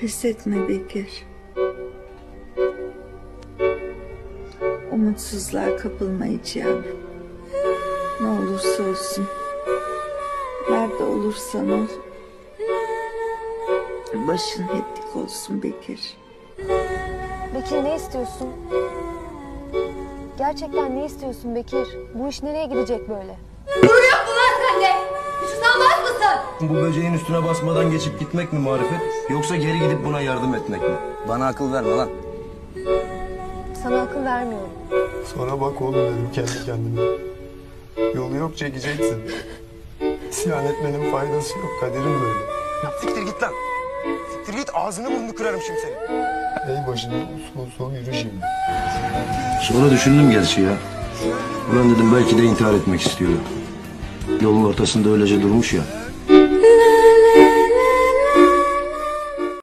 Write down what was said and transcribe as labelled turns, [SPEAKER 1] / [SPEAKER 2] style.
[SPEAKER 1] Pes etme Bekir. Umutsuzluğa kapılma hiç yavrum. Ne olursa olsun. Nerede olursan ol. Başın hep dik olsun Bekir.
[SPEAKER 2] Bekir ne istiyorsun? Gerçekten ne istiyorsun Bekir? Bu iş nereye gidecek böyle?
[SPEAKER 3] Gurur mu var sende? Uçusamaz mısın?
[SPEAKER 4] Bu böceğin üstüne basmadan geçip gitmek mi marifet? Yoksa geri gidip buna yardım etmek mi? Bana akıl verme lan.
[SPEAKER 2] Sana akıl vermiyorum.
[SPEAKER 5] Sonra bak oğlum dedim kendi kendime. Yolu yok çekeceksin. İsyan etmenin faydası yok. Kaderim böyle.
[SPEAKER 4] Siktir git lan. Siktir git ağzını burnunu kırarım şimdi senin.
[SPEAKER 5] Ey başına usul usul yürü şimdi.
[SPEAKER 4] Sonra düşündüm gerçi ya. Ulan dedim belki de intihar etmek istiyor. Yolun ortasında öylece durmuş ya.